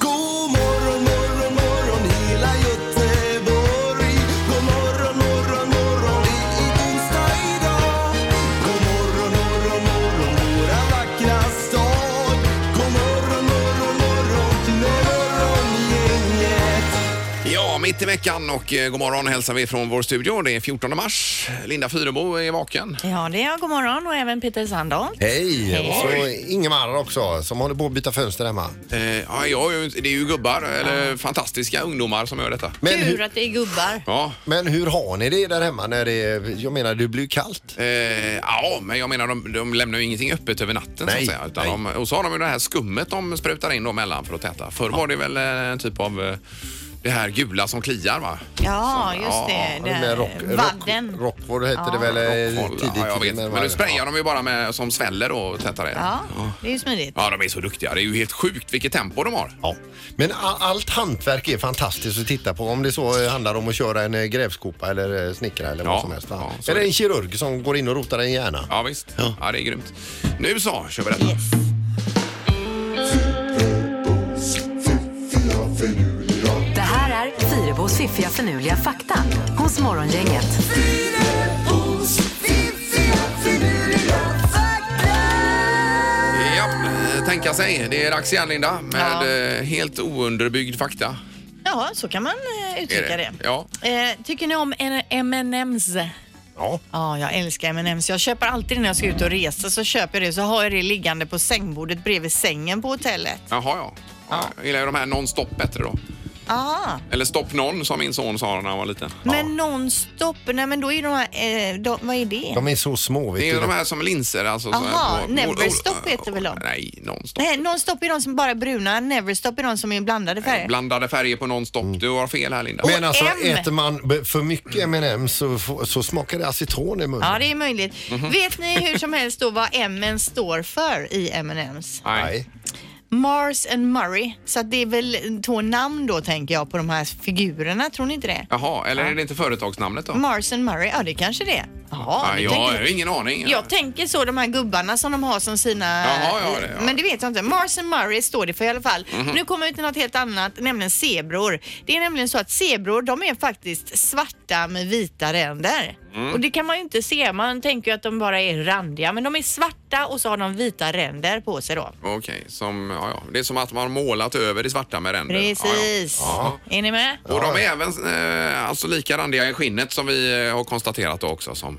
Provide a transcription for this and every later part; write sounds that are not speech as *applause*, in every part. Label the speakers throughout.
Speaker 1: God morgon, morgon, morgon hela Göteborg. God morgon, morgon, morgon det är onsdag idag. God morgon, morgon, morgon våra vackra stad. God morgon, morgon, morgon morgongänget.
Speaker 2: Ja, mitt i veckan och eh, god morgon hälsar vi från vår studio. Det är 14 mars. Linda Fyrebo är vaken.
Speaker 3: Ja, det är jag. God morgon och även Peter Sandahl.
Speaker 4: Hej! Och så Ingemar också som håller på att byta fönster hemma.
Speaker 2: Eh, ja, jag, är ju- det är ju gubbar, eller fantastiska ungdomar som gör detta.
Speaker 4: Men
Speaker 3: Tur
Speaker 4: hur,
Speaker 3: att det är gubbar.
Speaker 2: Ja,
Speaker 4: men hur har ni det där hemma när det är, jag menar det blir ju kallt?
Speaker 2: eh, ja men jag menar de, de lämnar ju ingenting öppet över natten
Speaker 4: Nej,
Speaker 2: så att säga. Utan
Speaker 4: nej.
Speaker 2: de, och så har de ju det här skummet de sprutar in då mellan för att täta. Förr var det väl eh, en typ av eh, det här gula som kliar va?
Speaker 3: Ja,
Speaker 2: Som-
Speaker 3: just det.
Speaker 4: Det
Speaker 3: Där,
Speaker 4: med rock,
Speaker 3: vadden.
Speaker 4: rock, rockvård hette det väl eh,
Speaker 2: Kolla,
Speaker 4: tidigt?
Speaker 2: ja, jag vet.
Speaker 4: men-
Speaker 2: Men nu sprayar de ju bara med, som sväller och tätar det.
Speaker 3: Ja, det är ju smidigt.
Speaker 2: ja, de är så duktiga. Det är ju helt sjukt vilket tempo de har.
Speaker 4: Ja. Men all, allt hantverk är fantastiskt att titta på om det så eh, handlar om att köra en eh, grävskopa eller eh, snickra eller
Speaker 2: Ja,
Speaker 4: vad som helst. va?
Speaker 2: ja, så
Speaker 4: eller
Speaker 2: är det.
Speaker 4: en kirurg som går in och rotar i en hjärna.
Speaker 2: Ja visst, ja. det är grymt. Nu så kör vi detta.
Speaker 5: Det här är Fyrabos fiffiga förnuliga fakta hos Morgongänget.
Speaker 2: Ja, eh, tänka sig. Det är dags igen Linda med eh, helt ounderbyggd fakta.
Speaker 3: Ja, så kan man eh,
Speaker 2: Är
Speaker 3: uttrycka det.
Speaker 2: Ja.
Speaker 3: Eh, tycker ni om en- M&M's?
Speaker 4: Ja.
Speaker 3: Ja, jag älskar M&M's. Jag köper alltid när jag ska ut och resa så köper jag det så har jag det liggande på sängbordet bredvid sängen på hotellet.
Speaker 2: Jaha ja. ja. Jag gillar ju de här non-stop bättre då.
Speaker 3: Ah,
Speaker 2: Eller stopp non som min son sa när han var liten.
Speaker 3: men nonstop, nej men då är de här, eh, de, vad är det?
Speaker 4: De är så små vet
Speaker 2: Det är ju
Speaker 4: du.
Speaker 2: de här som linser alltså. så här
Speaker 3: Jaha,
Speaker 2: på-
Speaker 3: Neverstop heter väl de?
Speaker 2: Nej, non-stop.
Speaker 3: Nej, nonstop är de som bara är bruna, neverstop är de som är blandade färger.
Speaker 2: Blandade färger på non-stop.
Speaker 3: Mm.
Speaker 2: Du har fel här Linda.
Speaker 4: Men alltså
Speaker 3: M.
Speaker 4: äter man b- för mycket M&M så, f- så smakar det aceton i munnen.
Speaker 3: Ja, det är möjligt. Vet ni hur som helst då vad M står för i M&M's?
Speaker 2: Nej.
Speaker 3: Mars and Murray. Så att det är väl två namn då tänker jag på de här figurerna, tror ni inte det?
Speaker 2: Jaha, eller är det inte företagsnamnet då?
Speaker 3: Mars and Murray, ja det kanske det är. Ja,
Speaker 2: Nej,
Speaker 3: nu
Speaker 2: jag
Speaker 3: tänker-
Speaker 2: har ju ingen aning.
Speaker 3: jag tänker så, de här gubbarna som de har som sina...
Speaker 2: Jaha, ja, det, ja. Mhm.
Speaker 3: Men det vet jag inte. Mars and Murray står det för i alla fall. Nu kommer vi till något helt annat, nämligen zebror. Det är nämligen så att zebror, de är faktiskt svarta med vita ränder.
Speaker 2: Mm.
Speaker 3: Och det kan man ju inte se. Man tänker ju att de bara är randiga, men de är svarta och så har de vita ränder på sig då.
Speaker 2: Okej, som, ja, ja. det är som att man har målat över i svarta med ränder.
Speaker 3: Precis.
Speaker 2: Ja, ja.
Speaker 3: Är ni med?
Speaker 2: Ja. Och de är även eh, alltså lika randiga i skinnet som vi eh, har konstaterat då också. Som.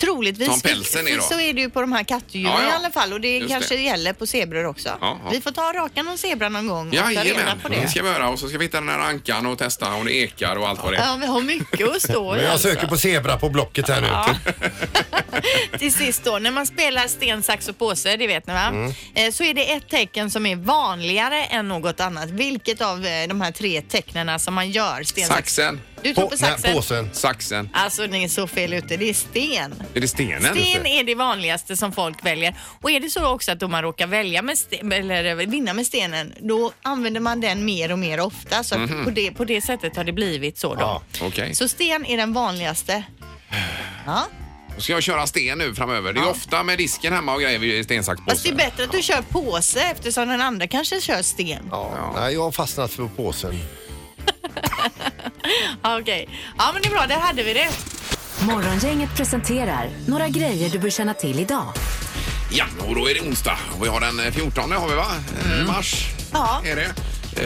Speaker 3: Troligtvis
Speaker 2: Som pälsen är då.
Speaker 3: så är det ju på de här kattdjuren
Speaker 2: Ja, ja.
Speaker 3: i alla fall och det
Speaker 2: Just
Speaker 3: kanske
Speaker 2: det.
Speaker 3: gäller på zebror också.
Speaker 2: Ja, ja.
Speaker 3: Vi får ta rakan och zebra någon gång och ta reda
Speaker 2: Jajamän,
Speaker 3: på
Speaker 2: det
Speaker 3: det.
Speaker 2: ska vi göra. Och så ska vi hitta den här ankan och testa om det ekar och allt vad det är.
Speaker 3: Ja, vi har mycket att stå i
Speaker 4: Men jag
Speaker 3: alltså.
Speaker 4: söker på zebra på Blocket här nu.
Speaker 3: *laughs* Till sist då, när man spelar sten, sax och påse, det vet ni va?
Speaker 4: Mm.
Speaker 3: Eh, Så är det ett tecken som är vanligare än något annat. Vilket av eh, de här tre tecknena som man gör? Sten, sax...
Speaker 2: Saxen,
Speaker 3: Du tror på
Speaker 4: nej,
Speaker 3: saxen?
Speaker 4: påsen.
Speaker 2: saxen.
Speaker 3: Alltså ni är så fel ute, det är sten.
Speaker 2: Är det stenen?
Speaker 3: Sten är det vanligaste som folk väljer. Och är det så också att om man råkar välja med sten, eller eh, vinna med stenen, då använder man den mer och mer ofta. Så att på, det, på det sättet har det blivit så då.
Speaker 4: Mhm. Ja,
Speaker 2: okej.
Speaker 3: Så sten är
Speaker 2: *sighs*
Speaker 3: den vanligaste. Ja.
Speaker 2: Då ska jag köra sten nu framöver. Det är ju ofta med disken hemma och grejer vid
Speaker 3: Fast det är
Speaker 2: stensaxpåsen.
Speaker 3: bättre att du kör påse eftersom den andra kanske kör sten. Ja.
Speaker 4: Ja. Nej, jag har fastnat för påsen.
Speaker 3: Okej. Ja men det är bra, där hade vi det.
Speaker 5: Morgongänget presenterar några grejer du bör känna till idag.
Speaker 2: Ja, och då är det onsdag. Och vi har den eh, 14 har vi va? Eh, Mars
Speaker 3: Mm. Ja.
Speaker 2: är det.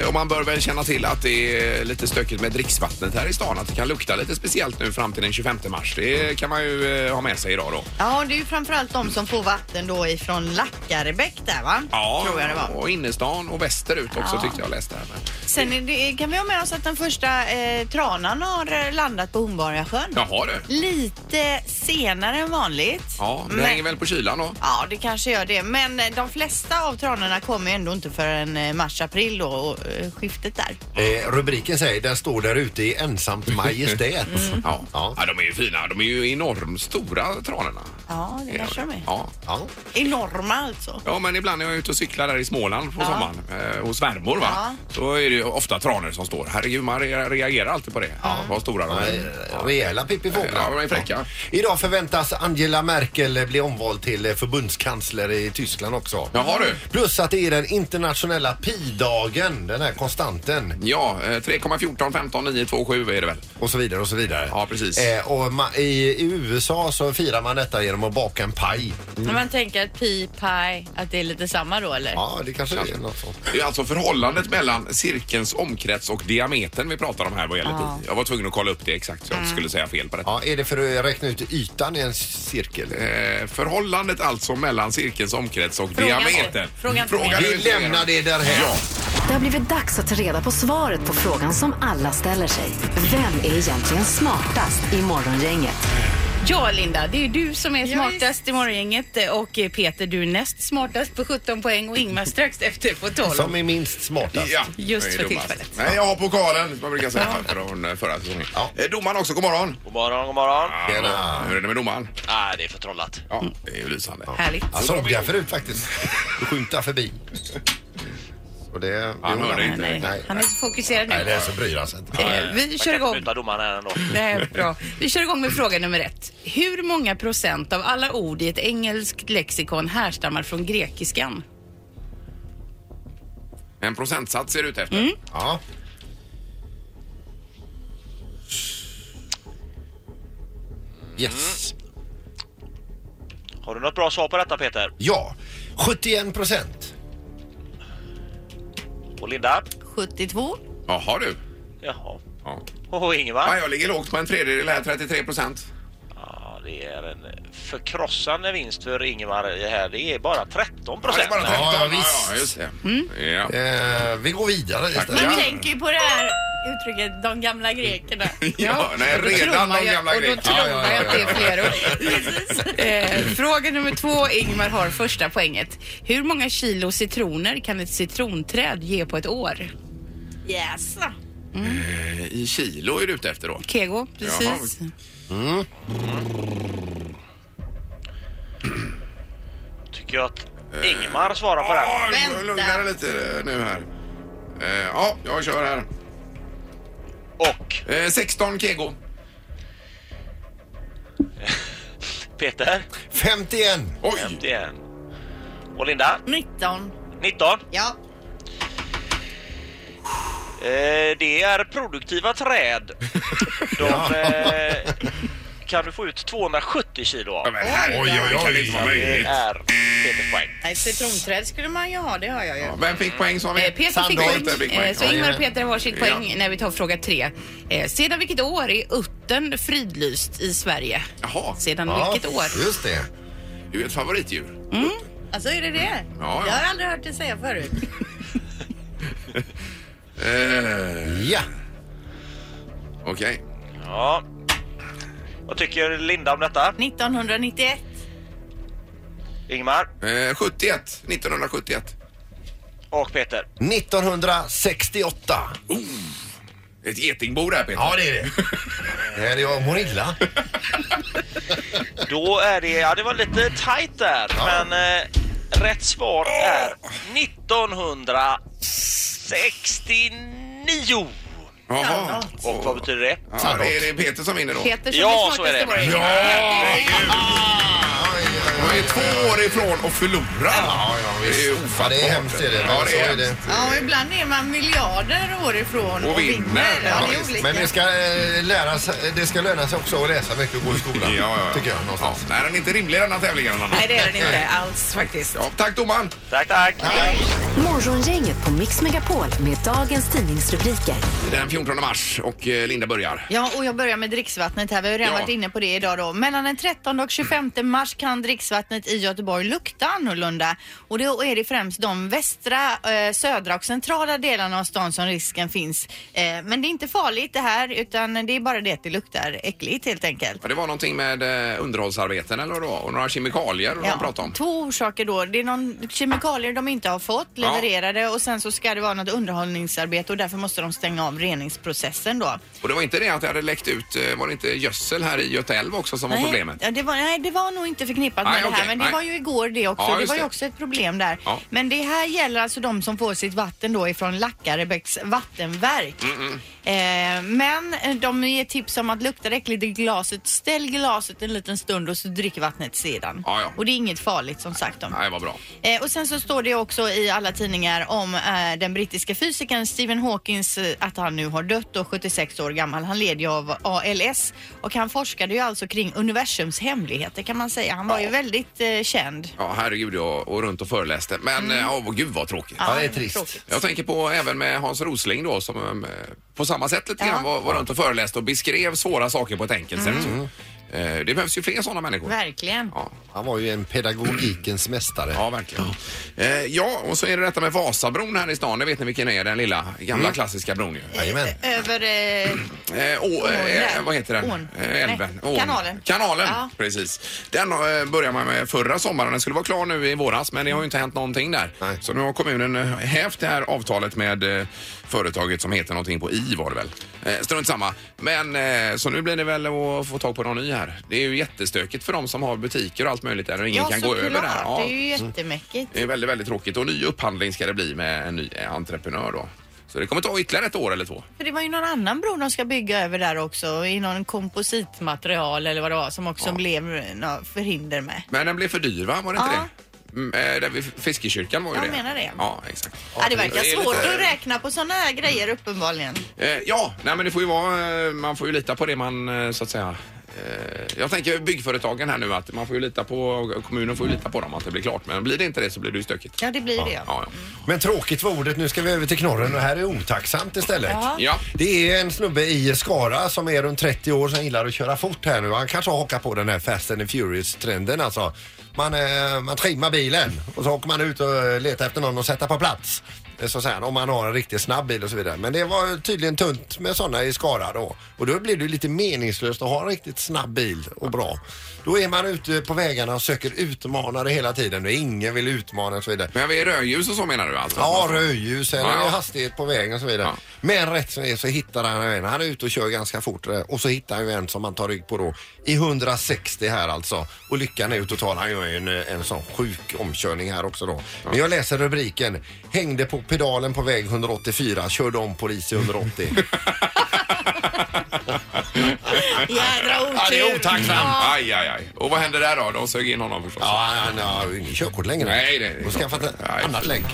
Speaker 2: Eh, Och man bör väl känna till att det är lite stökigt med dricksvattnet här i stan. Att det kan lukta lite speciellt nu fram till den 25 mars. Det kan man ju eh, ha med sig idag då.
Speaker 3: Ja, och det är ju framförallt de som får vatten då ifrån Lackarebäck där va?
Speaker 2: Ja,
Speaker 3: Tror jag det var.
Speaker 2: och innerstan och västerut också tyckte jag läste här. Men,
Speaker 3: Sen är det, kan vi ha med oss att den första eh, tranan har eh, landat på Hornborgasjön.
Speaker 2: jaha du.
Speaker 3: Lite senare än vanligt.
Speaker 2: Ja, det
Speaker 3: Men-
Speaker 2: hänger väl på kylan då.
Speaker 3: Ja, det kanske gör det. Men eh, de flesta av tranorna kommer ju ändå inte förrän eh, mars-april då och veckoskiftet där.
Speaker 4: Eh, rubriken säger den står där ute i ensamt majestät.
Speaker 3: Mm.
Speaker 2: Ja.
Speaker 4: Ja.
Speaker 2: Ja, de är ju fina. De är ju enormt stora tranorna.
Speaker 3: Ja, det kanske de är.
Speaker 2: Ja.
Speaker 4: Ja.
Speaker 3: Enorma alltså.
Speaker 2: Ja, men ibland när jag är ute och cyklar där i Småland på sommaren eh, hos svärmor va? så är det ju ofta tranor som står. Herregud, man re- reagerar alltid på det. Ja. Vad stora de
Speaker 4: Eh,
Speaker 2: är.
Speaker 4: Rejäla pippifåglar.
Speaker 2: Ja, de är fräcka.
Speaker 4: Idag förväntas Angela Merkel bli omvald till eh, förbundskansler i Tyskland också.
Speaker 2: Jaha, du.
Speaker 4: Plus att det är den internationella pi-dagen, den här konstanten
Speaker 2: Ja, eh, 3,14 15 9 2 7 är det väl?
Speaker 4: och så vidare och så vidare.
Speaker 2: Ja, precis.
Speaker 4: Eh, och ma- i, I USA så firar man detta genom att baka en paj.
Speaker 3: Men man tänker att pi, pi, att det är lite samma då eller?
Speaker 4: Ja, det kanske är något sånt.
Speaker 2: Det är alltså förhållandet mellan cirkelns omkrets och diametern vi pratar om här vad gäller pi. Jag var tvungen att kolla upp det exakt så jag inte
Speaker 3: Mm.
Speaker 2: skulle säga fel på det.
Speaker 4: Ja, är det för att räkna ut ytan i en cirkel?
Speaker 2: Eh, förhållandet alltså mellan cirkelns omkrets och
Speaker 3: Fråga inte.
Speaker 2: diametern.
Speaker 3: Fråga inte mer.
Speaker 2: du
Speaker 4: Vi
Speaker 2: inte mer.
Speaker 4: lämnar det där här.
Speaker 2: Ja.
Speaker 5: Det har blivit dags att ta reda på svaret på frågan som alla ställer sig. Vem är egentligen smartast i Morgongänget?
Speaker 6: Ja, Linda, det är ju du som är smartast i morgongänget och eh, Peter, du är näst smartast på 17 poäng och Ingmar strax efter på 12.
Speaker 4: Som är minst smartast.
Speaker 2: Ja,
Speaker 6: Just
Speaker 2: det är
Speaker 6: för
Speaker 2: dummast.
Speaker 6: tillfället.
Speaker 2: Nej, jag har pokalen som jag brukar säga från eh, förra säsongen.
Speaker 4: Ja.
Speaker 2: Eh, Domaren också, god morgon.
Speaker 7: God morgon, god morgon.
Speaker 2: Ja, hur är det med domaren?
Speaker 7: Nej, det är för trollat.
Speaker 2: Ja, det är ju lysande.
Speaker 3: Härligt.
Speaker 4: Jag såg jag förut
Speaker 2: *laughs*
Speaker 4: faktiskt. Du skymtar förbi. Och det,
Speaker 2: Han
Speaker 4: det-
Speaker 2: hörde inte.
Speaker 4: Nej, nej.
Speaker 6: Han är så fokuserad
Speaker 4: Nej,
Speaker 6: nu.
Speaker 4: det är så bryr han sig inte.
Speaker 6: Eh, Vi kör
Speaker 7: Jag kan
Speaker 6: igång.
Speaker 7: flytta domaren här ändå.
Speaker 6: Nej, bra. Vi kör igång med fråga nummer ett. Hur många procent av alla ord i ett engelskt lexikon härstammar från grekiskan?
Speaker 2: En procentsats ser det ut efter.
Speaker 4: Ja. Yes.
Speaker 7: Har du något bra svar på detta Peter?
Speaker 4: Ja. 71 procent.
Speaker 7: Och Linda?
Speaker 3: 72.
Speaker 2: Jaha du.
Speaker 7: Jaha.
Speaker 2: Ja.
Speaker 7: Och
Speaker 2: Ja,
Speaker 7: Ingemar?
Speaker 2: jag ligger lågt på en tredjedel här, 33 procent.
Speaker 7: Ja, det är en förkrossande vinst för Ingemar i det här. Det är bara 13
Speaker 2: Ja, det
Speaker 7: procent.
Speaker 2: är bara 13.
Speaker 4: Ja, ja,
Speaker 2: ja,
Speaker 4: visst.
Speaker 2: ja, just det. Ja.
Speaker 4: Eh, vi går vidare istället.
Speaker 2: Ja.
Speaker 3: Man tänker ju på det här uttrycket de gamla grekerna.
Speaker 2: Ja, nej,
Speaker 6: Och då
Speaker 2: redan
Speaker 6: trummar
Speaker 2: de
Speaker 6: jag-
Speaker 2: gamla
Speaker 6: Och då
Speaker 2: grekerna.
Speaker 6: tror jag att det är fler ord. Eh, Fråga nummer två. Ingmar har första poänget. Hur många kilo citroner kan ett citronträd ge på ett år?
Speaker 3: Yes.
Speaker 2: I kilo är du ute efter då?
Speaker 6: Kego, precis.
Speaker 7: Tycker jag att Ingemar svarar på den.
Speaker 2: Eh. Ja, lugna dig lite nu här. Eh, Ja, jag kör här.
Speaker 7: Och
Speaker 2: Eh, 16 kego.
Speaker 7: Peter?
Speaker 4: 51.
Speaker 2: Oj!
Speaker 7: Det är en. Och Linda?
Speaker 3: 19.
Speaker 7: 19.
Speaker 3: Ja.
Speaker 7: Eh, det är produktiva träd.
Speaker 2: *laughs*
Speaker 7: De eh, kan du få ut 270 kilo av.
Speaker 2: Ja, men herregud,
Speaker 4: Oj, oj,
Speaker 2: det kan
Speaker 4: oj.
Speaker 2: inte vara
Speaker 7: Det
Speaker 2: möjligt.
Speaker 7: är Peters poäng.
Speaker 6: Nej, citronträd skulle man ju ha, det har jag ju.
Speaker 2: Ja, Vem fick poäng sa vi?
Speaker 6: Eh, Peter fick
Speaker 4: Sandholt,
Speaker 6: poäng,
Speaker 2: Peter fick poäng.
Speaker 6: Eh, så
Speaker 2: Ja,
Speaker 6: Ingmar
Speaker 4: jajamän.
Speaker 6: och Peter har sitt poäng när vi tar fråga tre. Eh, Sedan vilket år är uttern fridlyst i Sverige?
Speaker 2: Jaha,
Speaker 6: Sedan
Speaker 4: Ja,
Speaker 6: vilket år?
Speaker 4: Just det.
Speaker 2: det är ju ett favoritdjur.
Speaker 3: Alltså är det det?
Speaker 2: Ja, ja.
Speaker 3: Jag har aldrig hört det säga förut.
Speaker 2: Eh,
Speaker 4: Ja.
Speaker 2: Okej.
Speaker 7: Ja. Vad tycker Linda om detta?
Speaker 3: 1991.
Speaker 7: Ingmar
Speaker 2: Eh, 71. 1971.
Speaker 7: och Peter.
Speaker 4: 1968.
Speaker 2: Ett getingbo där Peter.
Speaker 4: Ja, det är *laughs* det. Nej, det jag mår illa.
Speaker 7: Då är det... Ja, det var lite tajt där. Men eh, rätt svar är 1969.
Speaker 2: Jaha.
Speaker 7: Och vad betyder det?
Speaker 2: Ja, det är det Peter som vinner då.
Speaker 6: Peter som
Speaker 7: Ja,
Speaker 6: är
Speaker 7: så är
Speaker 6: smartast i
Speaker 7: det.
Speaker 6: vår gäng.
Speaker 4: Ah.
Speaker 2: Jag är två år ifrån att förlora.
Speaker 4: Ja, ja, visst.
Speaker 2: Det är ofattbart.
Speaker 4: Ja, det är hemskt. Är det. Men,
Speaker 2: Ja, det är
Speaker 4: så är det.
Speaker 3: Ja, och ibland är man miljarder år ifrån
Speaker 2: Och
Speaker 3: och,
Speaker 2: vinner.
Speaker 3: vinner.
Speaker 2: Ja,
Speaker 3: Ja, det är
Speaker 2: visst.
Speaker 3: olika.
Speaker 4: Men det ska, eh, lära sig, det ska löna sig också att läsa mycket och gå i
Speaker 2: Ja,
Speaker 4: skolan.
Speaker 2: ja, ja.
Speaker 4: Tycker jag någonstans.
Speaker 2: Ja, nej, den är inte rimlig denna tävlingen. Anna.
Speaker 6: Nej, det är den inte alls faktiskt.
Speaker 2: Ja, tack domaren.
Speaker 7: Tack, tack.
Speaker 5: Morgongänget på Mix Megapol med dagens tidningsrubriker.
Speaker 2: Den 14 mars och eh, Linda börjar.
Speaker 3: Ja, och jag börjar med dricksvattnet här. Vi har ju redan
Speaker 2: Ja.
Speaker 3: varit inne på det idag då. Mellan den 13 och 25 mars kan dricksvattnet dricksvattnet i Göteborg luktar annorlunda. Och då är det främst de västra, eh, södra och centrala delarna av stan som risken finns. Eh, men det är inte farligt det här utan det är bara det att det luktar äckligt helt enkelt.
Speaker 2: Ja, det var någonting med eh, underhållsarbeten eller vad det var och några kemikalier de pratade om.
Speaker 3: Två orsaker då. Det är någon kemikalier de inte har fått
Speaker 2: Ja.
Speaker 3: levererade och sen så ska det vara något underhållningsarbete och därför måste de stänga av reningsprocessen då.
Speaker 2: Och det var inte det att det hade läckt ut, eh, var det inte gödsel här i Götaälv också som var
Speaker 3: nej,
Speaker 2: problemet?
Speaker 3: Ja, det var, nej, det var nog inte förknippat
Speaker 2: Nej,
Speaker 3: med det
Speaker 2: okej,
Speaker 3: här men det
Speaker 2: nej.
Speaker 3: var ju igår det också.
Speaker 2: Ja,
Speaker 3: det
Speaker 2: just
Speaker 3: var ju
Speaker 2: det.
Speaker 3: också ett problem där.
Speaker 2: Ja.
Speaker 3: Men det här gäller alltså de som får sitt vatten då ifrån Lackarebäcks vattenverk.
Speaker 2: Mm,
Speaker 3: Eh, men eh, de ger tips om att luktar det äckligt i glaset, ställ glaset en liten stund och så drick vattnet sedan.
Speaker 2: Ja, ja.
Speaker 3: Och det är inget farligt som sagt. Om.
Speaker 2: Nej, vad bra.
Speaker 3: Eh, och sen så står det också i alla tidningar om eh, den brittiska fysikern Stephen Hawkins eh, att han nu har dött då 76 år gammal. Han led ju av ALS och han forskade ju alltså kring universums hemligheter kan man säga. Han var ju väldigt eh, känd.
Speaker 2: Ja, herregud, jag och runt och föreläste. Men mm. oh, gud vad tråkigt.
Speaker 4: Ja, det är trist.
Speaker 2: Jag tänker på även med Hans Rosling då som eh, på samma sätt lite
Speaker 3: Ja.
Speaker 2: grann var, var runt och föreläste och beskrev svåra saker på ett enkelt sätt. Eh, Det behövs ju fler sådana människor.
Speaker 3: Verkligen.
Speaker 2: Ja.
Speaker 4: Han var ju en pedagogikens mästare.
Speaker 2: Ja, verkligen. Eh, ja, och så är det detta med Vasabron här i stan. Det vet ni vilken det är, den lilla gamla
Speaker 3: Mm.
Speaker 2: klassiska bron ju.
Speaker 4: Jajamän.
Speaker 3: Över... Eh,
Speaker 2: Eh, å, eh,
Speaker 3: där.
Speaker 2: vad heter den?
Speaker 3: Ån.
Speaker 2: Eh, Älven.
Speaker 3: Nej,
Speaker 2: Ån.
Speaker 3: kanalen.
Speaker 2: Kanalen,
Speaker 3: Ja.
Speaker 2: precis. Den eh, började man med förra sommaren. Den skulle vara klar nu i våras, men det har ju inte hänt någonting där.
Speaker 4: Nej.
Speaker 2: Så nu har kommunen eh, hävt det här avtalet med eh, företaget som heter någonting på I var det väl. Eh, strunt samma. Men eh, så nu blir det väl att få tag på någon ny här. Det är ju jättestökigt för de som har butiker och allt möjligt där och ingen
Speaker 3: ja,
Speaker 2: kan gå
Speaker 3: såklart.
Speaker 2: över där. Ja. Mm.
Speaker 3: Det är ju jättemäckigt.
Speaker 2: Det är väldigt, väldigt tråkigt och ny upphandling ska det bli med en ny eh, entreprenör då. Så det kommer ta ytterligare ett år eller två.
Speaker 3: För det var ju någon annan bro de ska bygga över där också i någon kompositmaterial eller vad det var som också blev eh, några förhinder med.
Speaker 2: Men den blev för dyr va? Var det inte
Speaker 3: Ja.
Speaker 2: det? Mm, eh, där vid Fiskekyrkan var ju
Speaker 3: Jag
Speaker 2: det.
Speaker 3: menar det.
Speaker 2: Ja, exakt.
Speaker 3: Ja, det verkar
Speaker 2: är lite-
Speaker 3: svårt att räkna på sådana här grejer uppenbarligen.
Speaker 2: Eh, ja, nej men det får ju vara, eh, man får ju lita på det man eh, så att säga. eh, Jag tänker byggföretagen här nu att man får ju lita på, kommunen får ju lita på dem att det blir klart. Men blir det inte det så blir det ju stökigt.
Speaker 3: Ja, det blir det.
Speaker 2: Ja,
Speaker 4: Mm. Men tråkigt var ordet. Nu ska vi över till knorren och här är otacksamt istället.
Speaker 2: ja. ja.
Speaker 4: Det är en snubbe i Skara som är runt 30 år som gillar att köra fort här nu. Han kanske har hakat på den här Fast and the Furious-trenden alltså. Man, eh, man trimmar bilen och så åker man ut och eh, letar efter någon att sätta på plats. Eh, Så säger han, om man har en riktigt snabb bil och så vidare. Men det var tydligen tunt med sådana i Skara då. Och då blir det ju lite meningslöst att ha en riktigt snabb bil och bra. Då är man ute på vägarna och söker utmanare hela tiden och ingen vill utmana och så vidare.
Speaker 2: Men vid rödljus och så menar du alltså?
Speaker 4: Ja, rödljus eller
Speaker 2: Ja, ja.
Speaker 4: hastighet på vägen och så vidare.
Speaker 2: Ja.
Speaker 4: Men rätt som det är så hittar han en. Han är ute och kör ganska fort eh, och så hittar han ju en som han tar rygg på då i 160 här alltså. Och lyckan är ju total. Han gör ju en, eh, en sån sjuk omkörning här också då. Men jag läser rubriken. Hängde på pedalen på väg 184, körde om polis i 180.
Speaker 3: Jädra
Speaker 2: *laughs*
Speaker 3: otur.
Speaker 2: Ja, det är otacksamt. Aj, aj, aj. Och vad hände där då? De sög in honom förstås.
Speaker 4: ja, han har ju inget körkort längre.
Speaker 2: Nej, det är
Speaker 4: Och skaffat ett
Speaker 2: Nej.
Speaker 4: annat lägg.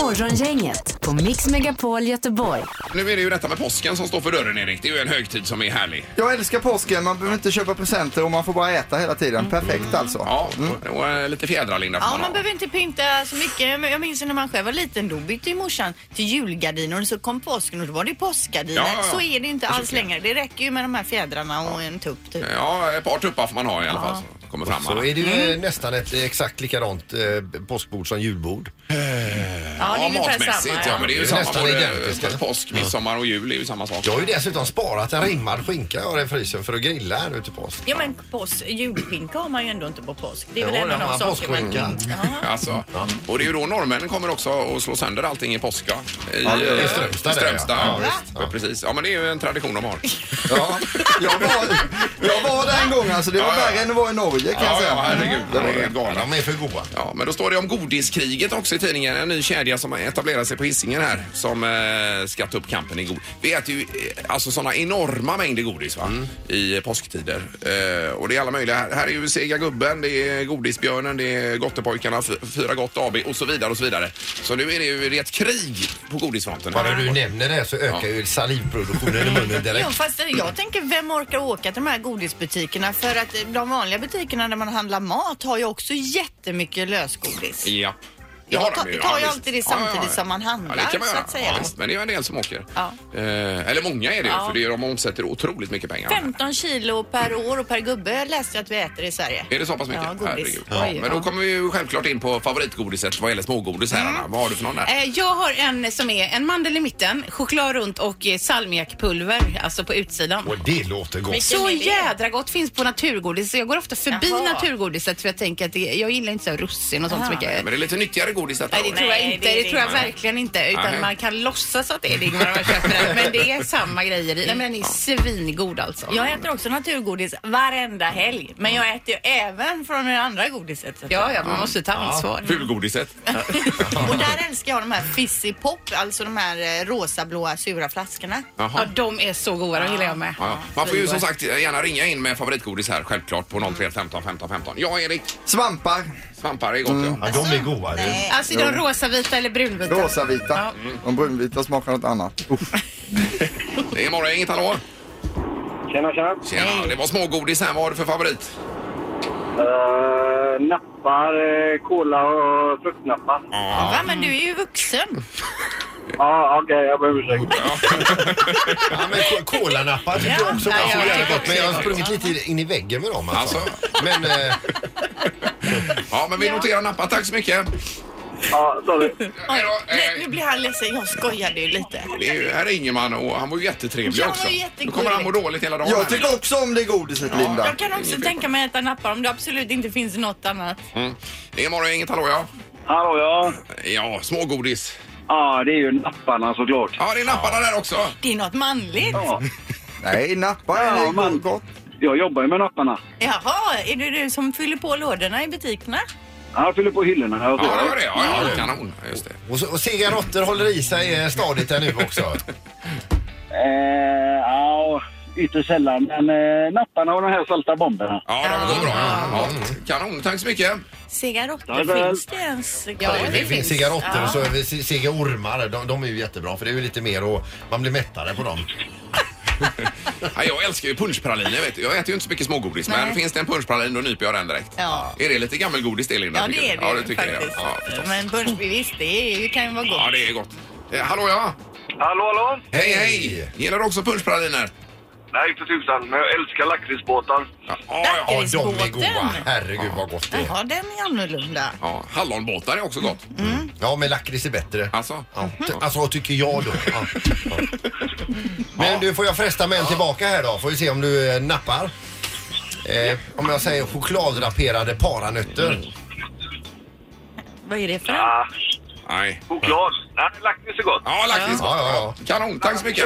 Speaker 5: Morgongänget på Mix Megapol Göteborg.
Speaker 2: Nu är det ju detta med påsken som står för dörren, Erik. Det är ju en högtid som är härlig.
Speaker 8: Jag älskar påsken, man behöver inte köpa presenter och man får bara äta hela
Speaker 4: Mm.
Speaker 8: tiden. Perfekt alltså.
Speaker 2: Ja, och, och eh, lite fjädrar, Linda. får
Speaker 3: Ja,
Speaker 2: ha.
Speaker 3: man behöver inte pynta så mycket. Men Jag minns när man själv var liten, då bytte ju morsan till julgardiner och så kom påsken och då var det påskgardiner.
Speaker 2: Ja, ja, Eh, ja.
Speaker 3: Så är det inte alls längre. Det räcker ju med de här fjädrarna och en tupp typ.
Speaker 2: Ja, ett par tuppar får man ha i alla fall. Så kommer fram
Speaker 4: Så
Speaker 2: alla.
Speaker 4: är det ju eh, nästan ett eh, exakt likadant eh, påskbord som julbord.
Speaker 3: Ja, det är ungefär
Speaker 2: matmässigt.
Speaker 3: samma,
Speaker 2: Ja,
Speaker 3: ja.
Speaker 2: men det är ju
Speaker 4: Det är
Speaker 2: samma.
Speaker 4: nästan identiskt,
Speaker 2: Både
Speaker 4: eller?
Speaker 2: påsk, midsommar och jul är ju samma sak.
Speaker 4: Jag har ju dessutom sparat en rimmad skinka jag har i frysen för att grilla här nu till påsk.
Speaker 3: Ja men pås, julskinka har man ju ändå inte på påsk. Det är väl
Speaker 4: Jo,
Speaker 3: en
Speaker 4: det
Speaker 3: av
Speaker 4: har
Speaker 3: de
Speaker 4: man.
Speaker 3: saker man...
Speaker 4: Påskskinka.
Speaker 2: Alltså, och det är ju då norrmännen kommer också och slå sönder allting i påska. I,
Speaker 4: Ja, i
Speaker 2: eh,
Speaker 4: Strömstad
Speaker 2: i
Speaker 4: där, ja.
Speaker 2: Strömstad.
Speaker 4: Ja,
Speaker 2: Ja,
Speaker 4: visst.
Speaker 2: Ja, precis. Ja, men det är ju en tradition de har.
Speaker 8: Ja, jag, var, jag var där en gång alltså, det var
Speaker 2: Ja, ja.
Speaker 8: värre än att vara i Norge kan jag
Speaker 2: Ja,
Speaker 8: säga.
Speaker 2: ja, herregud.
Speaker 8: Det
Speaker 2: Det
Speaker 8: var
Speaker 2: är
Speaker 8: det.
Speaker 2: galna.
Speaker 4: De är för goda.
Speaker 2: Ja, men då står det om godiskriget också i tidningen. En ny kedja som har etablerat sig på Hisingen här som eh, ska ta upp kampen i godis. Vi äter ju eh, alltså sådana enorma mängder godis va?
Speaker 4: Mm.
Speaker 2: i eh, påsktider. Eh, och det är alla möjliga. Här, här är ju Sega Gubben, det är Godisbjörnen, det är Gottepojkarna, F- Fyra Gott AB och så vidare och så vidare. Så nu är det ju det är ett krig på godisfronten.
Speaker 4: Bara du nämner det så ökar ju salivproduktionen i munnen
Speaker 3: Jo,
Speaker 4: direkt.
Speaker 3: fast jag tänker vem orkar åka till de här godisbutikerna? För att de vanliga butikerna där man handlar mat har ju också jättemycket lösgodis.
Speaker 2: Ja. Det har
Speaker 3: Jag
Speaker 2: de
Speaker 3: tar,
Speaker 2: ju, ja,
Speaker 3: tar ju
Speaker 2: visst.
Speaker 3: alltid det
Speaker 2: Ja, ja, ja.
Speaker 3: samtidigt som man handlar.
Speaker 2: Ja, det kan man
Speaker 3: så
Speaker 2: göra.
Speaker 3: att
Speaker 2: Ja,
Speaker 3: säga.
Speaker 2: visst, men det är ju en del som åker.
Speaker 3: Ja.
Speaker 2: Eh, eller många är det ju,
Speaker 3: Ja.
Speaker 2: för det är, de omsätter otroligt mycket pengar.
Speaker 3: 15 kilo per år och per gubbe läste jag att vi äter i Sverige.
Speaker 2: Är det så pass mycket?
Speaker 3: Ja, godis.
Speaker 2: Herregud.
Speaker 3: Oj,
Speaker 2: Ja, men då
Speaker 3: ja.
Speaker 2: kommer vi ju självklart in på favoritgodiset vad gäller smågodis här Anna. Vad har du för någon där?
Speaker 6: Eh, Jag har en som är en mandel i mitten, choklad runt och eh, salmiakpulver, alltså på utsidan.
Speaker 4: Och det låter gott.
Speaker 6: Så jädra gott! Finns på naturgodis. Så Jag går ofta förbi
Speaker 3: Jaha.
Speaker 6: naturgodiset för jag tänker att det, jag gillar inte så här russin och sånt så
Speaker 3: Jaha.
Speaker 6: mycket.
Speaker 2: Men det är lite nyttigare godis detta.
Speaker 6: Nej, det
Speaker 2: år.
Speaker 6: tror jag inte.
Speaker 3: Mm. det är
Speaker 6: Det,
Speaker 3: det
Speaker 6: tror jag
Speaker 3: inte.
Speaker 6: verkligen inte. Utan
Speaker 2: Nej.
Speaker 6: man kan låtsas att det är det Ingmar har köpt den. Men det är samma grejer i. Nej, men den är svingod alltså.
Speaker 3: Jag äter också naturgodis varenda helg. Men jag äter ju även från det andra godiset. så att
Speaker 6: Ja,
Speaker 3: säga.
Speaker 6: ja, man måste ta ansvar.
Speaker 3: *laughs*
Speaker 2: Fulgodiset.
Speaker 3: Och där älskar jag de här Fizzy Pop, alltså de här eh, rosablåa sura flaskorna.
Speaker 6: Ja,
Speaker 2: Jaha.
Speaker 6: de är så goda. De gillar jag med.
Speaker 2: Ja, ja. Man får ju som sagt gärna ringa in med favoritgodis här självklart på 03 15 15 15. Ja Erik,
Speaker 8: Svampar,
Speaker 2: svampar är gott ja.
Speaker 8: Mm.
Speaker 4: Ja, de är goda. du.
Speaker 6: Alltså, är de rosavita eller brunvita?
Speaker 8: rosavita. De brunvita smakar något annat. Uff.
Speaker 2: Det är morgon, inget hallå.
Speaker 7: Tjena, tjena.
Speaker 2: Tjena, det var smågodis här. Vad har du för favorit?
Speaker 7: Uh, nappar, eh, cola och fruktnappar.
Speaker 3: Va,
Speaker 6: mm.
Speaker 3: men du är ju vuxen.
Speaker 7: Ja, okej, jag ber om ursäkt.
Speaker 4: *laughs* Ja, men ko- kolanappar tycker jag också
Speaker 6: Ja,
Speaker 4: var
Speaker 6: ja,
Speaker 4: så jävla
Speaker 6: ja.
Speaker 4: gott. Men jag har sprungit lite in i väggen med dem alltså. Men eh,
Speaker 2: Ja, men vi noterar nappar. Tack så mycket.
Speaker 7: Ja, sorry.
Speaker 2: Hej då,
Speaker 3: Nu,
Speaker 2: hej.
Speaker 3: nu blir han ledsen. Jag skojade ju lite.
Speaker 2: Det är ju, här ringer man och han var ju jättetrevlig
Speaker 3: Ja,
Speaker 2: också.
Speaker 3: han var jättegullig.
Speaker 2: Nu kommer han må dåligt hela dagen. här.
Speaker 8: Jag tycker också om det godiset, Linda.
Speaker 3: Jag kan också tänka mig att äta nappar om det absolut inte finns något annat.
Speaker 2: Mm. Det är morgon, inget hallå ja.
Speaker 7: Hallå, ja.
Speaker 2: Ja, smågodis.
Speaker 7: Ja, det är ju napparna såklart.
Speaker 2: Ja, det är napparna där också.
Speaker 3: Det är något manligt.
Speaker 7: Ja,
Speaker 8: Nej, nappar
Speaker 7: Ja,
Speaker 8: är
Speaker 7: man-
Speaker 8: go- gott.
Speaker 7: jag jobbar ju med napparna.
Speaker 3: Jaha, är det du som fyller på lådorna i butikerna?
Speaker 7: Ja, Jag fyller på hyllorna. här och så.
Speaker 2: Ja, det var det. Ja, ja, kanon. Ja, Just det.
Speaker 4: och, så- och cigaretter håller i sig eh, stadigt där nu också.
Speaker 7: Eh, ja, ytterst sällan. Men eh, napparna och de här salta bomberna.
Speaker 2: Ja, de går bra. Ja, kanon, tack så mycket.
Speaker 7: Tack
Speaker 3: Cigaretter,
Speaker 7: väl.
Speaker 3: finns det ens
Speaker 6: Ja,
Speaker 3: kvar?
Speaker 6: det
Speaker 4: Det finns
Speaker 6: finns.
Speaker 4: cigaretter och så är vi c- cigaormar. De, de är ju jättebra för det är ju lite mer och man blir mättare på dem.
Speaker 2: Ja, jag älskar ju punschpraliner. Vet du. Jag äter ju inte så mycket smågodis, men
Speaker 3: Nej.
Speaker 2: finns det en punschpralin då nyper jag den direkt.
Speaker 3: Ja.
Speaker 2: Är det lite gammelgodis det, Linda?
Speaker 3: Ja, det
Speaker 2: tycker du?
Speaker 3: är det,
Speaker 2: ja, det tycker
Speaker 3: faktiskt.
Speaker 2: Jag. Ja, förstås.
Speaker 3: Men punsch, visst, det är, ju- kan ju vara
Speaker 2: ja,
Speaker 3: gott.
Speaker 2: det är gott. Eh, hallå, ja.
Speaker 7: Hallå, hallå?
Speaker 2: Hej, hej. Gillar du också punschpraliner?
Speaker 7: Nej, för tusan. Men jag älskar lakritsbåtar.
Speaker 2: Ja, ja, ja.
Speaker 4: Ja, de är goda.
Speaker 3: Lakritsbåten.
Speaker 4: Herregud vad gott det är.
Speaker 3: Jaha, den är annorlunda.
Speaker 2: ja. Hallonbåtar är också gott.
Speaker 3: Mm.
Speaker 4: Ja, men lakrits är bättre.
Speaker 2: Alltså?
Speaker 4: Ja, t- alltså tycker jag då. Ja. Ja. Men du, får jag fresta med en tillbaka här då? Får vi se om du eh, nappar. Eh, om jag säger chokladrapperade paranötter.
Speaker 3: Vad är det för en?
Speaker 7: Ah,
Speaker 2: Nej.
Speaker 7: choklad. Nej, lakrits är gott.
Speaker 2: Ja, lakrits.
Speaker 4: Ja, ja,
Speaker 2: Kanon, tack så mycket.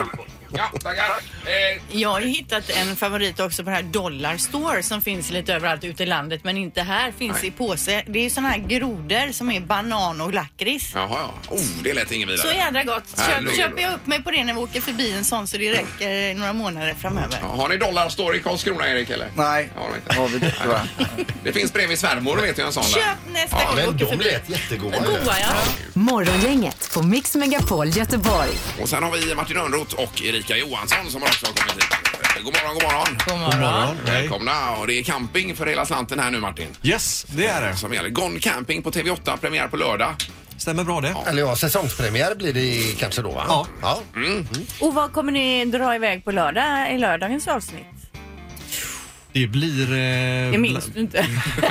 Speaker 2: Ja, tackar. Eh,
Speaker 3: Jag har ju hittat en favorit också på det här Dollar Store som finns lite överallt ute i landet men inte här. Finns i påse. Det är ju såna här grodor som är banan och lakrits.
Speaker 2: Jaha, ja. Oh, det lät inget
Speaker 3: Så
Speaker 2: vidare.
Speaker 3: jädra gott.
Speaker 2: Härligt.
Speaker 3: Köp, köper jag upp mig på det när vi åker förbi en sån så det räcker några månader framöver.
Speaker 2: Ja, Har ni dollar står i Karlskrona, Erik? Eller?
Speaker 8: Nej,
Speaker 2: Har de inte.
Speaker 8: har vi det tyvärr.
Speaker 2: Det finns bredvid svärmor, vet jag en sån där.
Speaker 3: Köp nästa
Speaker 2: Ja,
Speaker 3: gång vi
Speaker 4: Men
Speaker 3: åker
Speaker 4: de
Speaker 3: förbi.
Speaker 4: lät jättegoda.
Speaker 3: Goa ja.
Speaker 5: Morgongänget på Mix Megapol Göteborg.
Speaker 2: Och sen har vi Martin Örnroth och Erika Johansson som också har kommit hit. Eh, God morgon, god morgon.
Speaker 3: God morgon.
Speaker 2: Välkomna. Och det är camping för hela slanten här nu, Martin.
Speaker 9: Yes, det är det.
Speaker 2: Som gäller. Gone Camping på TV8, premiär på lördag.
Speaker 9: Stämmer bra det.
Speaker 4: Eller ja, säsongspremiär blir det kanske då va?
Speaker 9: Ja.
Speaker 4: ja.
Speaker 3: Och vad kommer ni dra iväg på lördag i lördagens avsnitt?
Speaker 9: Det blir... Eh,
Speaker 4: Mm.
Speaker 3: Det minns
Speaker 9: bla-
Speaker 3: du
Speaker 4: *laughs*
Speaker 3: inte.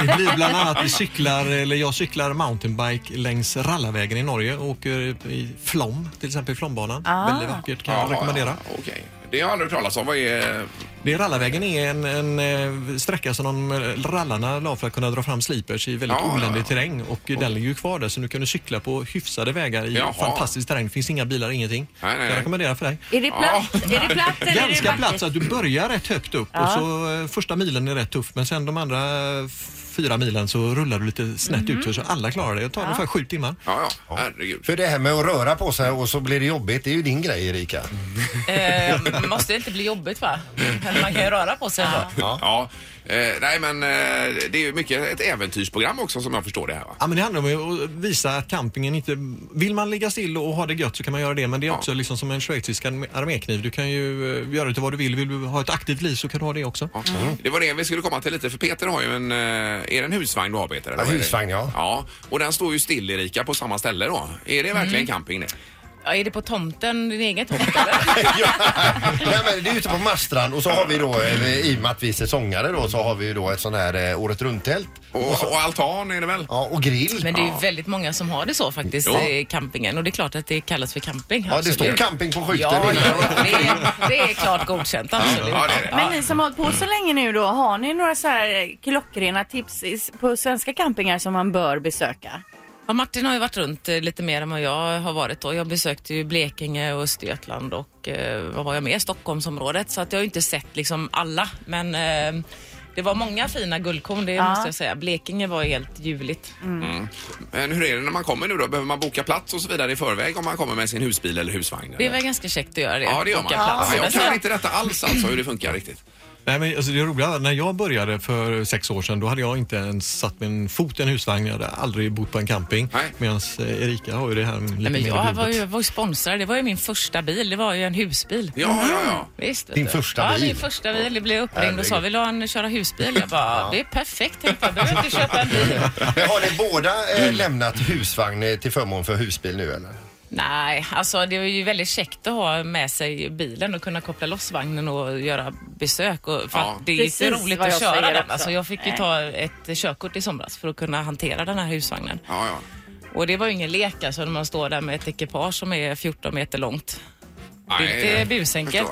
Speaker 9: det blir bland annat, vi cyklar, eller jag cyklar mountainbike längs Rallavägen i Norge och åker i Flom, till exempel Flombanan.
Speaker 3: Ah.
Speaker 9: Väldigt vackert kan jag
Speaker 2: Ja,
Speaker 9: rekommendera.
Speaker 2: ja, Okej. Det har jag aldrig hört talas om. Vad är...
Speaker 9: Det är Rallarvägen är en, en eh, sträcka som de eh, rallarna la för att kunna dra fram slipers i väldigt
Speaker 2: Ja, ja,
Speaker 9: oländig
Speaker 2: ja.
Speaker 9: terräng och eh, den ligger ju kvar där så nu kan du cykla på hyfsade vägar i
Speaker 2: Jaha.
Speaker 9: fantastisk terräng. Det finns inga bilar, ingenting.
Speaker 2: Nej, nej, nej.
Speaker 9: Jag rekommenderar för dig.
Speaker 3: Är det platt? Är det platt eller är det
Speaker 9: Ganska
Speaker 3: vackert?
Speaker 9: platt så att du börjar rätt högt upp och så eh, första milen är rätt tuff men sen de andra eh, fyra milen så rullar du lite snett utför så alla klarar det. Det tar ungefär sju timmar.
Speaker 2: Ja, ja. Herregud.
Speaker 4: För det här med att röra på sig och så blir det jobbigt, det är ju din grej Erika.
Speaker 10: Eh, måste det inte bli jobbigt va? Eller Man kan ju röra på sig ändå.
Speaker 2: Ja. Eh, nej, men eh, det är ju mycket ett äventyrsprogram också som jag förstår det här va?
Speaker 9: Ja, men det handlar om ju att visa att campingen inte... Vill man ligga still och ha det gött så kan man göra det. Men det är också liksom som en schweizisk arm- armékniv. Du kan ju eh, göra det till vad du vill. Vill du ha ett aktivt liv så kan du ha det också.
Speaker 4: Mm.
Speaker 2: Mm. Det var det vi skulle komma till lite, för Peter har ju en... eh, Är det en husvagn du har Peter? eller
Speaker 4: Ja,
Speaker 2: vad är det?
Speaker 4: husvagn, ja.
Speaker 2: Ja, och den står ju still Erika på samma ställe då. Är det verkligen
Speaker 4: Mm.
Speaker 2: camping det?
Speaker 3: Ja, är det på tomten, din egen tomt?
Speaker 4: *laughs* Nej, men det är ute på Marstrand och så har vi då, eh, i och med att vi är säsongare då, så har vi ju då ett sån här eh, året runt-tält.
Speaker 2: Och, altan är det väl?
Speaker 4: Ja, och grill.
Speaker 3: Men det är ju väldigt många som har det så faktiskt,
Speaker 4: Ja.
Speaker 3: eh, campingen. Och det är klart att det kallas för camping.
Speaker 4: Ja, det står
Speaker 3: absolut.
Speaker 4: camping på skylten.
Speaker 3: Ja, ja, det, är, det är klart godkänt, absolut.
Speaker 4: Ja, det är
Speaker 5: Men ni som har hållit på så länge nu då, har ni några så här eh, klockrena tips i- på svenska campingar som man bör besöka?
Speaker 3: Ja, Martin har ju varit runt eh, lite mer än vad jag har varit då. Jag besökte ju Blekinge och Östergötland och eh, vad var jag mer? Stockholmsområdet. Så att jag har ju inte sett liksom alla. Men eh, det var många fina guldkorn, det
Speaker 2: Ja.
Speaker 3: måste jag säga. Blekinge var ju helt ljuvligt.
Speaker 2: Mm. Men hur är det när man kommer nu då? Behöver man boka plats och så vidare i förväg om man kommer med sin husbil eller husvagn?
Speaker 3: Det var ganska käckt att göra det.
Speaker 2: Ja, det gör man.
Speaker 3: Boka plats.
Speaker 2: Ja, jag kan inte detta alls alltså, hur det funkar riktigt.
Speaker 9: Nej, men alltså det roliga, när jag började för sex år sedan då hade jag inte ens satt min fot i en husvagn. Jag hade aldrig bott på en camping. Medan eh, Erika har ju det här lite
Speaker 3: Nej, men
Speaker 9: mer
Speaker 3: jag
Speaker 9: i
Speaker 3: var
Speaker 9: blodet.
Speaker 3: ju, var ju sponsrad. Det var ju min första bil. Det var ju en husbil. Mm,
Speaker 2: Ja, ja, ja.
Speaker 3: Visst, vet
Speaker 9: Din
Speaker 3: du.
Speaker 9: första
Speaker 3: Ja,
Speaker 9: bil.
Speaker 3: min första bil. Det blev uppringd och sa
Speaker 4: Herregud.
Speaker 3: vill du ha en, köra husbil? Jag bara, det är perfekt tänkte jag. Behöver inte köpa en bil.
Speaker 9: *laughs*
Speaker 4: Men har ni båda eh, lämnat husvagn eh, till förmån för husbil nu eller?
Speaker 3: Nej, alltså det är ju väldigt käckt att ha med sig bilen och kunna koppla loss vagnen och göra besök. Och, för
Speaker 4: Ja.
Speaker 3: att det är
Speaker 5: Precis
Speaker 3: inte roligt
Speaker 5: vad
Speaker 3: att
Speaker 5: jag
Speaker 3: köra
Speaker 5: säger
Speaker 3: den.
Speaker 5: också.
Speaker 3: Alltså jag fick ju
Speaker 5: Nej.
Speaker 3: ta ett körkort i somras för att kunna hantera den här husvagnen.
Speaker 2: Ja, ja.
Speaker 3: Och det var ju ingen lek alltså när man står där med ett ekipage som är 14 meter långt. det
Speaker 4: Nej,
Speaker 3: är inte
Speaker 4: jag
Speaker 3: busenkelt.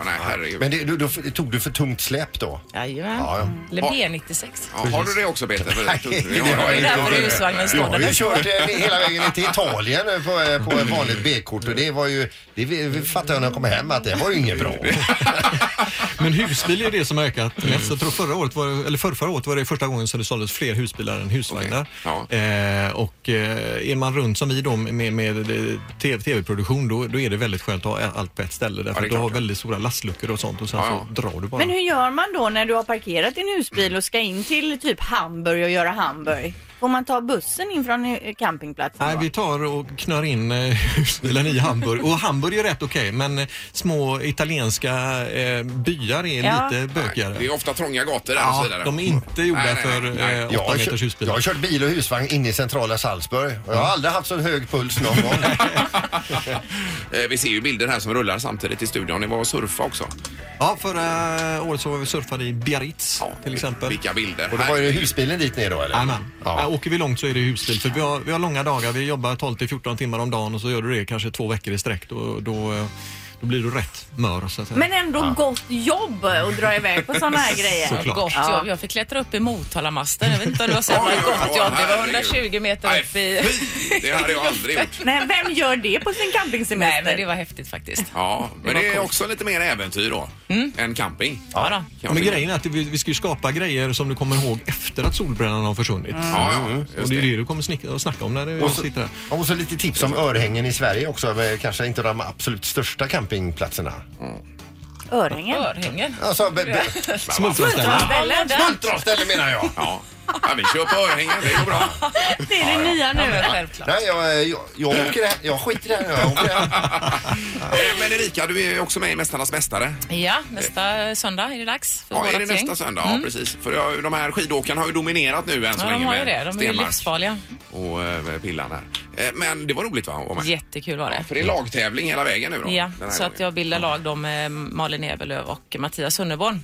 Speaker 4: Men det, du, då, tog du för tungt släp då?
Speaker 3: Jajamän.
Speaker 4: Ja, ja.
Speaker 3: Eller B96.
Speaker 2: Ja, har du det också Peter? Nej,
Speaker 4: det har jag inte.
Speaker 3: Därför husvagnen står
Speaker 4: Jag har
Speaker 3: där.
Speaker 4: ju kört eh, hela vägen ner till Italien eh, på, eh, på ett vanligt B-kort och det var ju, det vi- vi fattade jag när jag kom hem att det var ju inget bra.
Speaker 9: Men husbil är det som har ökat mest. Jag tror förra året var, eller förra, förra året var det första gången som det såldes fler husbilar än husvagnar. Eh, och eh, är man runt som vi då med, med eh, TV- tv-produktion då, då är det väldigt skönt att ha allt på ett ställe. Därför
Speaker 2: det är
Speaker 9: att du har
Speaker 2: klart, ja.
Speaker 9: väldigt stora lastluckor och sånt och sen
Speaker 2: Ja,
Speaker 9: så drar du bara.
Speaker 5: Men hur gör man då när du har parkerat din husbil och ska in till typ Hamburg och göra Hamburg? Får man ta bussen in från eh, campingplatsen?
Speaker 9: Nej,
Speaker 5: då?
Speaker 9: vi tar och knör in eh, *laughs* husbilen i Hamburg. Och Hamburg är rätt okej, men eh, små italienska eh, byar är
Speaker 2: Ja.
Speaker 9: lite bökigare.
Speaker 2: Det är ofta trånga gator där
Speaker 9: Ja,
Speaker 2: och så vidare.
Speaker 9: de är inte gjorda för, eh,
Speaker 4: Jag har,
Speaker 9: 8 meters
Speaker 4: kört,
Speaker 9: husbil.
Speaker 4: jag har kört bil och husvagn inne i centrala Salzburg och jag har aldrig haft så hög puls någon gång.
Speaker 9: *laughs*
Speaker 2: Eh, Vi ser ju bilder här som rullar samtidigt i studion. Ni var och surfa också.
Speaker 9: Ja, förra året så var vi surfade i Biarritz till exempel.
Speaker 2: Vilka bilder.
Speaker 4: Och då var ju husbilen dit ner då eller?
Speaker 9: Jajamän. Ja. Åker vi långt så är det husbil. För vi har, vi har långa dagar, vi jobbar 12 till 14 timmar om dagen och så gör du det kanske två veckor i sträck. Då, då, eh, då blir du rätt mör så att säga.
Speaker 5: Men ändå gott jobb att dra iväg på sådana här
Speaker 7: *laughs*
Speaker 5: grejer.
Speaker 9: Såklart.
Speaker 3: Gott
Speaker 5: Ja.
Speaker 3: jobb. Jag fick klättra upp i Motalamasten. Jag vet inte om du har sett vad gott jobb. Det var 120 meter upp i...
Speaker 2: Det hade jag aldrig gjort.
Speaker 3: *laughs*
Speaker 5: Nej, vem gör det på sin campingsemester?
Speaker 3: Nej, men det var häftigt faktiskt.
Speaker 2: Ja, men
Speaker 3: var
Speaker 2: det är
Speaker 3: coolt.
Speaker 2: också lite mer äventyr då.
Speaker 3: Mm.
Speaker 2: Än camping.
Speaker 3: Ja, då.
Speaker 9: Ja, men grejen är att vi, vi ska ju skapa grejer som du kommer ihåg efter att solbrännan har försvunnit.
Speaker 4: Mm. Ja, ja, just
Speaker 9: och det är det du kommer snick- att snacka om när du
Speaker 4: Och så,
Speaker 9: sitter här.
Speaker 4: och så lite tips om örhängen i Sverige också, med kanske inte de absolut största campingplatserna.
Speaker 5: Örhängen.
Speaker 3: Örhängen.
Speaker 4: Alltså, be- be-
Speaker 9: Smultronställen.
Speaker 4: Smultronställen menar jag.
Speaker 2: Ja. ja, vi kör på örhängen. Det
Speaker 9: *laughs*
Speaker 2: går bra.
Speaker 5: Det är det nya nu.
Speaker 4: Nej, jag, jag, jag, åker det här. jag skiter i det här. Jag åker det här.
Speaker 2: Eh, Men Erika, du är ju också med i Mästarnas Mästare.
Speaker 3: Ja, nästa söndag är det dags för
Speaker 2: Ja, är
Speaker 3: vårat
Speaker 2: det
Speaker 3: gäng.
Speaker 2: nästa söndag? Ja,
Speaker 3: Mm.
Speaker 2: precis. För jag- de här skidåkarna har ju dominerat nu än så
Speaker 3: Ja, de
Speaker 2: länge
Speaker 3: har ju
Speaker 2: med
Speaker 3: det. De är ju
Speaker 2: Stenmark
Speaker 3: livsfarliga.
Speaker 2: och eh, Pillan här. Eh, Men det var roligt va? att vara med?
Speaker 3: Jättekul var det.
Speaker 2: För det är lagtävling hela vägen nu då?
Speaker 3: Ja,
Speaker 2: den här
Speaker 3: så att jag bildar lag då med Malin Eberlöf och Mattias Sunnerborn.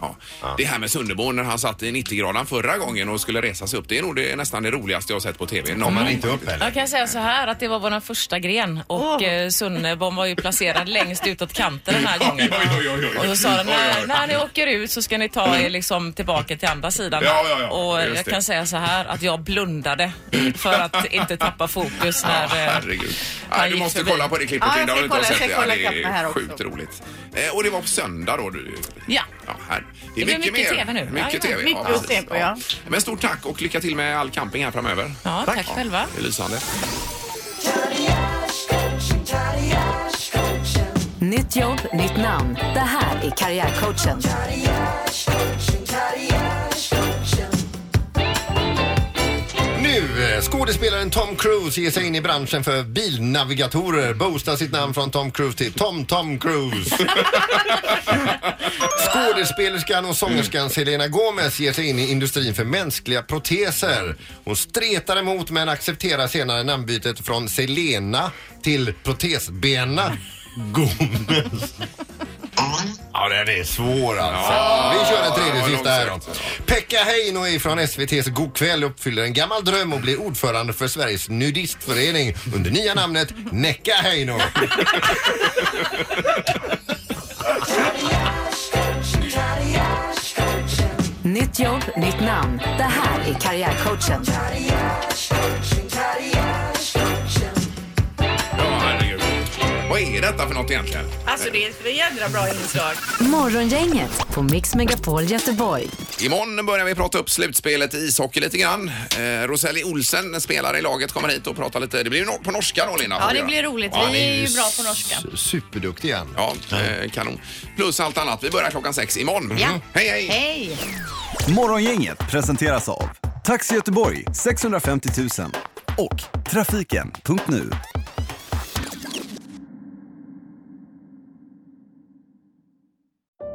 Speaker 2: Det här med Sunderborn när han satt i 90-gradan förra gången och skulle resa sig upp. Det är nog det, nästan det roligaste jag har sett på TV. Någon
Speaker 4: man inte upp heller.
Speaker 3: Jag kan säga så här att det var vår första gren och oh. Sunnerborn var ju placerad längst utåt kanten den här gången. Och då sa de när, när ni åker ut så ska ni ta er liksom tillbaka till andra sidan.
Speaker 2: Ja, ja, ja.
Speaker 3: Och
Speaker 2: Just
Speaker 3: jag
Speaker 2: det.
Speaker 3: kan säga så här att jag blundade för att inte tappa fokus när...
Speaker 2: Ja,
Speaker 3: eh,
Speaker 2: herregud.
Speaker 3: han
Speaker 2: Nej, du
Speaker 3: gick
Speaker 2: måste
Speaker 3: förbi.
Speaker 2: kolla på det klippet
Speaker 3: Ja, jag
Speaker 2: Linda,
Speaker 3: ska
Speaker 2: om du inte har
Speaker 3: kolla-
Speaker 2: sett
Speaker 3: jag ska
Speaker 2: det. Ja, det
Speaker 3: kolla klockan här
Speaker 2: är
Speaker 3: också.
Speaker 2: sjukt roligt. Eh, Och det var på söndag då du...
Speaker 3: Ja.
Speaker 2: Ja, här.
Speaker 3: Det blir mycket TV nu.
Speaker 2: Mycket
Speaker 3: Ja, ja.
Speaker 2: TV.
Speaker 3: Mycket
Speaker 2: precis.
Speaker 3: att se på, ja.
Speaker 2: Men stort tack och lycka till med all camping här framöver.
Speaker 3: Ja, tack själva.
Speaker 2: Det är lysande.
Speaker 11: Nytt jobb, nytt namn. Det här är Karriärcoachen.
Speaker 12: Karriärscoachen, karriärscoachen
Speaker 4: nu. eh, Skådespelaren Tom Cruise ger sig in i branschen för bilnavigatorer. Boostar sitt namn från Tom Cruise till Tom Tom Cruise. Skådespelerskan och sångerskan Selena Gomez ger sig in i industrin för mänskliga proteser. Hon stretar emot men accepterar senare namnbytet från Selena till protesbena Gomez. Ja, den är svår alltså.
Speaker 1: Ja,
Speaker 4: Vi kör en tredje
Speaker 1: ja,
Speaker 4: sista här då.
Speaker 1: långsamt.
Speaker 4: Pekka Heino från SVT's Go'kväll uppfyller en gammal dröm och blir ordförande för Sveriges nudistförening under nya namnet Näcka Heino.
Speaker 5: Nytt jobb, nytt namn. Det här är Karriärcoachen.
Speaker 2: Ja, herregud. Vad är detta för något egentligen?
Speaker 3: Alltså det är ett jädra bra inslag.
Speaker 5: Morgongänget på Mix Megapol Göteborg.
Speaker 2: Imorgon börjar vi prata upp slutspelet i ishockey lite grann. Eh, Roselli Olsen, en spelare i laget, kommer hit och pratar lite. Det blir ju no- på norska då, Linda. får
Speaker 3: Ja,
Speaker 2: vi
Speaker 3: det
Speaker 2: göra.
Speaker 3: blir roligt.
Speaker 2: Ja,
Speaker 3: Vi
Speaker 2: det
Speaker 3: är ju
Speaker 2: s-
Speaker 3: bra på norska.
Speaker 4: Superduktig igen.
Speaker 2: Ja, eh, kanon. Plus allt annat. Vi börjar klockan sex imorgon. Mm.
Speaker 3: Ja.
Speaker 2: Hej, hej!
Speaker 3: Hej!
Speaker 13: Morgongänget presenteras av Taxi Göteborg 650 000 och Trafiken.nu.